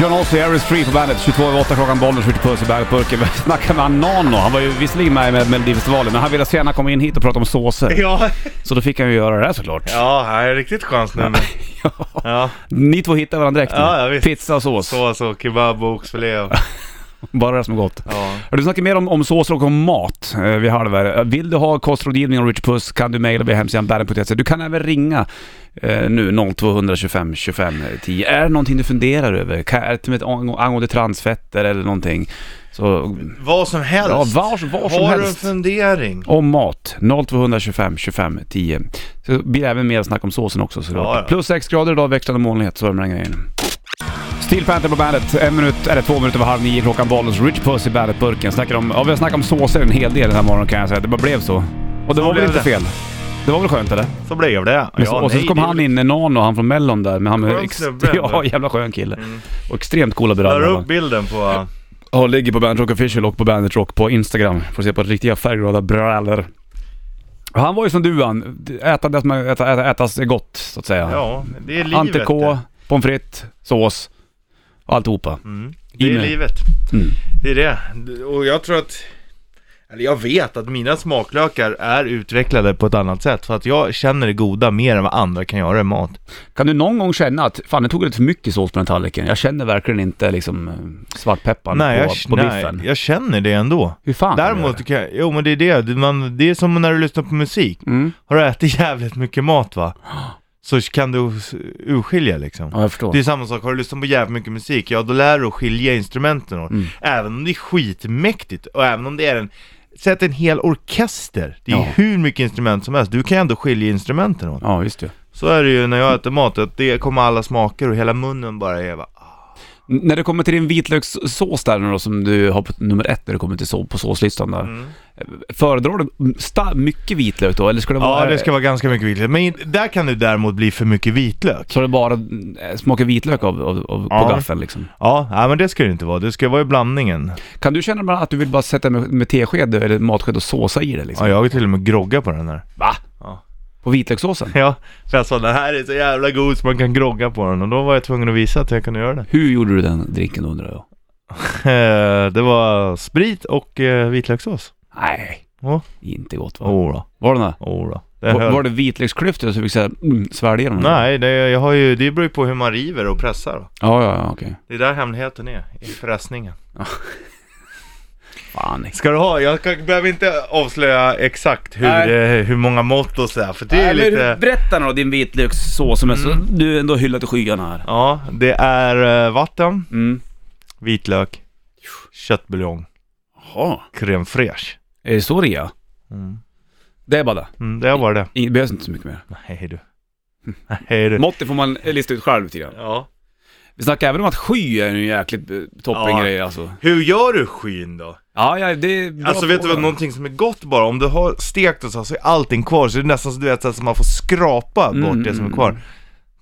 Speaker 1: John Ossie, Aris Free på bandet. 22 över 8 klockan, Bollnäs skjuter puss i bergburken. Vi snackade med han Nano. Han var ju visserligen med i Melodifestivalen, men han ville så gärna komma in hit och prata om såser.
Speaker 2: Ja,
Speaker 1: Så då fick han ju göra det här såklart.
Speaker 2: ja han är riktigt chans nu. men- Ja,
Speaker 1: Ni två hittade varandra direkt nu.
Speaker 2: Ja, ja, visst.
Speaker 1: Pizza och sås.
Speaker 2: så så. Kebab och oxfilé och...
Speaker 1: Bara det som är gott.
Speaker 2: Ja.
Speaker 1: Du snackar mer om, om såser och om mat eh, vid halv här. Eh, Vill du ha kostrådgivning av Rich Puss kan du mejla via hemsidan bandet.se. Du kan även ringa eh, nu 0200 25 25 10. Är det någonting du funderar över? Kan, är det till och med ang- angående transfetter eller någonting? Så,
Speaker 2: Vad som helst.
Speaker 1: ja, var, var som
Speaker 2: Har
Speaker 1: helst.
Speaker 2: du en fundering?
Speaker 1: Om mat, 0200 25 25 10. Så blir det även mer snack om såsen också såklart.
Speaker 2: Ja, ja.
Speaker 1: Plus 6 grader idag, växlande molnighet, så är det med den grejen. Steel Panther på bandet, en minut, eller två minuter över halv nio klockan Bollnäs, Rich Puss i bandet-burken. Snackar om, ja vi har snackat om såser en hel del den här morgonen kan jag säga, det bara blev så. Och det var väl
Speaker 2: blev
Speaker 1: inte
Speaker 2: det.
Speaker 1: fel? Det var väl skönt eller?
Speaker 2: Så blev det.
Speaker 1: Men så, och sen
Speaker 2: nej,
Speaker 1: kom
Speaker 2: det-
Speaker 1: han in, Nano, han från Mellon där. Men han med
Speaker 2: Skön
Speaker 1: ex-
Speaker 2: snubbe ändå. Mm.
Speaker 1: ja, jävla skön kille. Och extremt coola
Speaker 2: La
Speaker 1: brallor.
Speaker 2: upp bilden på...
Speaker 1: Ja, ligger på Bandit Rock Official och på Bandit Rock på Instagram. Får se på riktiga färgglada brallor. Och Han var ju som du han, äta det som är- äta, äta, ätas är gott så att säga.
Speaker 2: Ja, det är livet.
Speaker 1: Entrecote, pommes frites, sås, alltihopa.
Speaker 2: Mm.
Speaker 1: I
Speaker 2: Det är
Speaker 1: mig.
Speaker 2: livet.
Speaker 1: Mm.
Speaker 2: Det är det. Och jag tror att... Eller jag vet att mina smaklökar är utvecklade på ett annat sätt. För att jag känner det goda mer än vad andra kan göra i mat.
Speaker 1: Kan du någon gång känna att, fan det tog lite för mycket sås på den här tallriken. Jag känner verkligen inte liksom eh, svartpepparn
Speaker 2: Nej,
Speaker 1: på,
Speaker 2: jag,
Speaker 1: på biffen.
Speaker 2: nej jag känner det ändå.
Speaker 1: Hur fan kan du
Speaker 2: Däremot
Speaker 1: göra?
Speaker 2: kan jag, jo men det är det, Det- man, det är som när du lyssnar på musik.
Speaker 1: Mm.
Speaker 2: Har du ätit jävligt mycket mat va? Så kan du s- urskilja liksom.
Speaker 1: Ja, jag förstår.
Speaker 2: Det är samma sak, har du lyssnat på jävligt mycket musik, ja då lär du att skilja instrumenten
Speaker 1: Mm.
Speaker 2: åt. Även om det är skitmäktigt, och även om det är en, säg att det är en hel orkester, det är
Speaker 1: Ja.
Speaker 2: hur mycket instrument som helst, du kan ändå skilja instrumenten åt.
Speaker 1: Ja, just det.
Speaker 2: Så är det ju när jag äter mat, att det kommer alla smaker och hela munnen bara är va,
Speaker 1: N- När det kommer till din vitlökssås där nu då, som du har på nummer ett när det kommer till så, på såslistan där.
Speaker 2: Mm.
Speaker 1: Föredrar du sta- mycket vitlök då, eller ska det vara...
Speaker 2: Ja, "Ah, det ska vara ganska mycket vitlök. Men där kan det däremot bli för mycket vitlök.
Speaker 1: Så det bara eh, smakar vitlök av, av, av,
Speaker 2: Ja.
Speaker 1: på gaffeln liksom?
Speaker 2: Ja, nej, men det ska det inte vara. Det ska vara i blandningen.
Speaker 1: Kan du känna bara att du vill bara sätta med, med tesked eller matsked och såsa i det liksom?
Speaker 2: Ja, jag har till och med groggat på den här.
Speaker 1: Va?
Speaker 2: Ja.
Speaker 1: På vitlökssåsen?
Speaker 2: Ja, för jag sa den här är så jävla god så man kan grogga på den. Och då var jag tvungen att visa att jag kunde göra det.
Speaker 1: Hur gjorde du den drinken undrar jag?
Speaker 2: Eh, Det var sprit och eh, vitlökssås.
Speaker 1: Nej,
Speaker 2: Ja.
Speaker 1: inte gott va?
Speaker 2: Oh, då,
Speaker 1: Var det det?
Speaker 2: oh, då. Det
Speaker 1: Var,
Speaker 2: höll.
Speaker 1: var det vitlöksklyftor så du fick säga, mm, svälja den?
Speaker 2: Nej, det, jag har ju, det beror ju på hur man river och pressar. Då.
Speaker 1: Ja, ja, ja, okej.
Speaker 2: Det är där hemligheten är, i pressningen.
Speaker 1: Fan.
Speaker 2: Ska du ha? Jag kan, behöver inte avslöja exakt hur,
Speaker 1: Nej.
Speaker 2: eh, hur många mått och sådär, för det är
Speaker 1: Nej, men
Speaker 2: lite... Mm.
Speaker 1: Berätta nu då din vitlökssås som är så, du ändå hyllar till skyarna här.
Speaker 2: Ja, det är eh, vatten,
Speaker 1: Mm.
Speaker 2: vitlök, köttbuljong,
Speaker 1: Jaha.
Speaker 2: crème fraîche.
Speaker 1: Är det så det är?
Speaker 2: Mm.
Speaker 1: Det är bara det.
Speaker 2: Mm, det var det.
Speaker 1: Det behövs inte så mycket mer.
Speaker 2: Nej du. Nej du.
Speaker 1: Måttet får man lista ut själv lite grann.
Speaker 2: Ja.
Speaker 1: Vi snackar även om att sky är en jäkligt eh, toppengrej alltså.
Speaker 2: Hur gör du skyn då?
Speaker 1: Ja, ja, det är bra
Speaker 2: Alltså vet du vad,
Speaker 1: fråga.
Speaker 2: någonting som är gott bara, om du har stekt och så, så är allting kvar, så det är nästan så du vet så att man får skrapa
Speaker 1: Mm,
Speaker 2: bort det som är
Speaker 1: mm,
Speaker 2: kvar.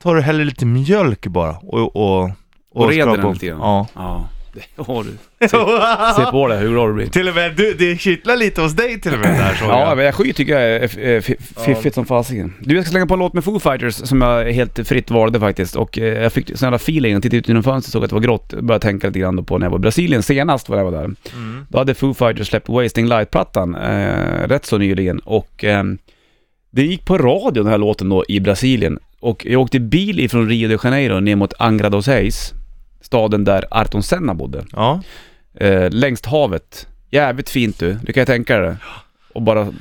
Speaker 2: Tar du häller lite mjölk bara och... Och, och,
Speaker 1: Och reder
Speaker 2: skrapar
Speaker 1: den
Speaker 2: upp.
Speaker 1: lite grann.
Speaker 2: Ja.
Speaker 1: Ja, det har du. Se på det hur bra du blir.
Speaker 2: till och med du, det kittlar lite hos dig till och med där såg
Speaker 1: Ja,
Speaker 2: jag.
Speaker 1: men jag sky tycker jag är f- eh, f- fiffigt som fasiken. Du, jag ska slänga på en låt med Foo Fighters som jag helt fritt valde faktiskt. Och eh, jag fick sån jävla feeling, jag tittade ut genom fönstret och såg att det var grått. Jag Började tänka lite grann då på när jag var i Brasilien senast, var jag var där. Då hade Foo Fighters släppt Wasting Light-plattan eh, rätt så nyligen. Och ehm, det gick på radio den här låten då i Brasilien. Och jag åkte bil ifrån Rio de Janeiro ner mot Angra dos Reis, staden där Arton Senna bodde
Speaker 2: Ja.
Speaker 1: eh, längst havet. Jävligt fint du, det kan jag tänka dig. Och bara,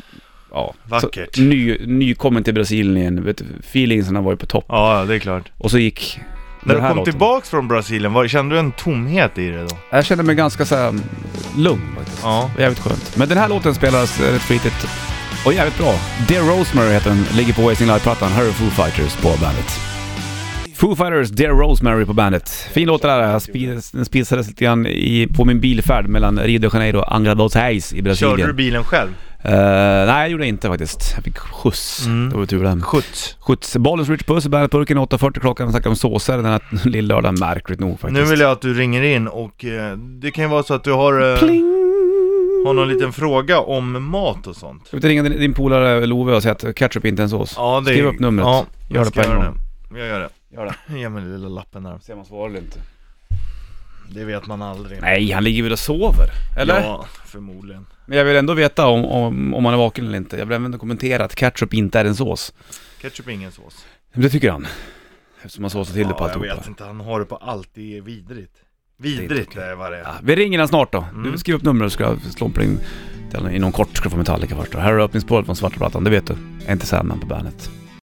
Speaker 1: ja.
Speaker 2: Vackert.
Speaker 1: Så, ny, nykommen till Brasilien, vet, du, feelingsen var ju på topp.
Speaker 2: ja, det är klart.
Speaker 1: Och så gick
Speaker 2: När
Speaker 1: den
Speaker 2: du
Speaker 1: här
Speaker 2: kom
Speaker 1: låten.
Speaker 2: tillbaks från Brasilien, var, kände du en tomhet i det då?
Speaker 1: Jag kände mig ganska så här, mm, lugn faktiskt.
Speaker 2: Ja.
Speaker 1: Det var Jävligt skönt. Men den här låten spelas eh, rätt flitigt och jävligt bra. Dear Rosemary heter den, ligger på Wasting Life-plattan. Här är Foo Fighters på bandet. Foo Fighters, Dear Rosemary på bandet. Fin låt det där. Jag spis- Den spisades lite grann i, på min bilfärd mellan Rio de Janeiro och Angra dos Reis i Brasilien.
Speaker 2: Körde du bilen själv?
Speaker 1: Eh, nej, jag gjorde inte faktiskt. Jag fick skjuts.
Speaker 2: Mm.
Speaker 1: Det var tur det.
Speaker 2: Skjuts.
Speaker 1: Skjuts. Bollens Rich Puss i Bandetburken 8.40 klockan. Vi snackar om såser den här lill-lördagen, märkligt nog faktiskt.
Speaker 2: Nu vill jag att du ringer in och eh, det kan ju vara så att du har, eh, har någon liten fråga om mat och sånt.
Speaker 1: Ska vi inte ringa din, din polare Love och säga att ketchup inte är en sås?
Speaker 2: Ja, det...
Speaker 1: Skriv upp numret.
Speaker 2: Ja,
Speaker 1: Gör
Speaker 2: jag
Speaker 1: det
Speaker 2: ska
Speaker 1: på en
Speaker 2: göra
Speaker 1: gång.
Speaker 2: det. Jag gör det.
Speaker 1: Gör
Speaker 2: Ge mig den lilla lappen där.
Speaker 1: Se om han svarar eller inte.
Speaker 2: Det vet man aldrig.
Speaker 1: Nej, han ligger väl och sover? Eller?
Speaker 2: Ja, förmodligen.
Speaker 1: Men jag vill ändå veta om, om, om han är vaken eller inte. Jag vill även kommentera att ketchup inte är en sås.
Speaker 2: Ketchup är ingen sås.
Speaker 1: Men det tycker han. Eftersom han såsar till det på
Speaker 2: Ja, jag
Speaker 1: alltihopa.
Speaker 2: vet inte, han har det på allt. Det är vidrigt. Vidrigt är vad det är.
Speaker 1: Ja, vi ringer den snart då. Du skriv upp numret så ska jag slå på din... Inom kort ska du få Metallica först då. Här är öppningsspåret från svarta plattan, det vet du. Inte Sandman på bandet.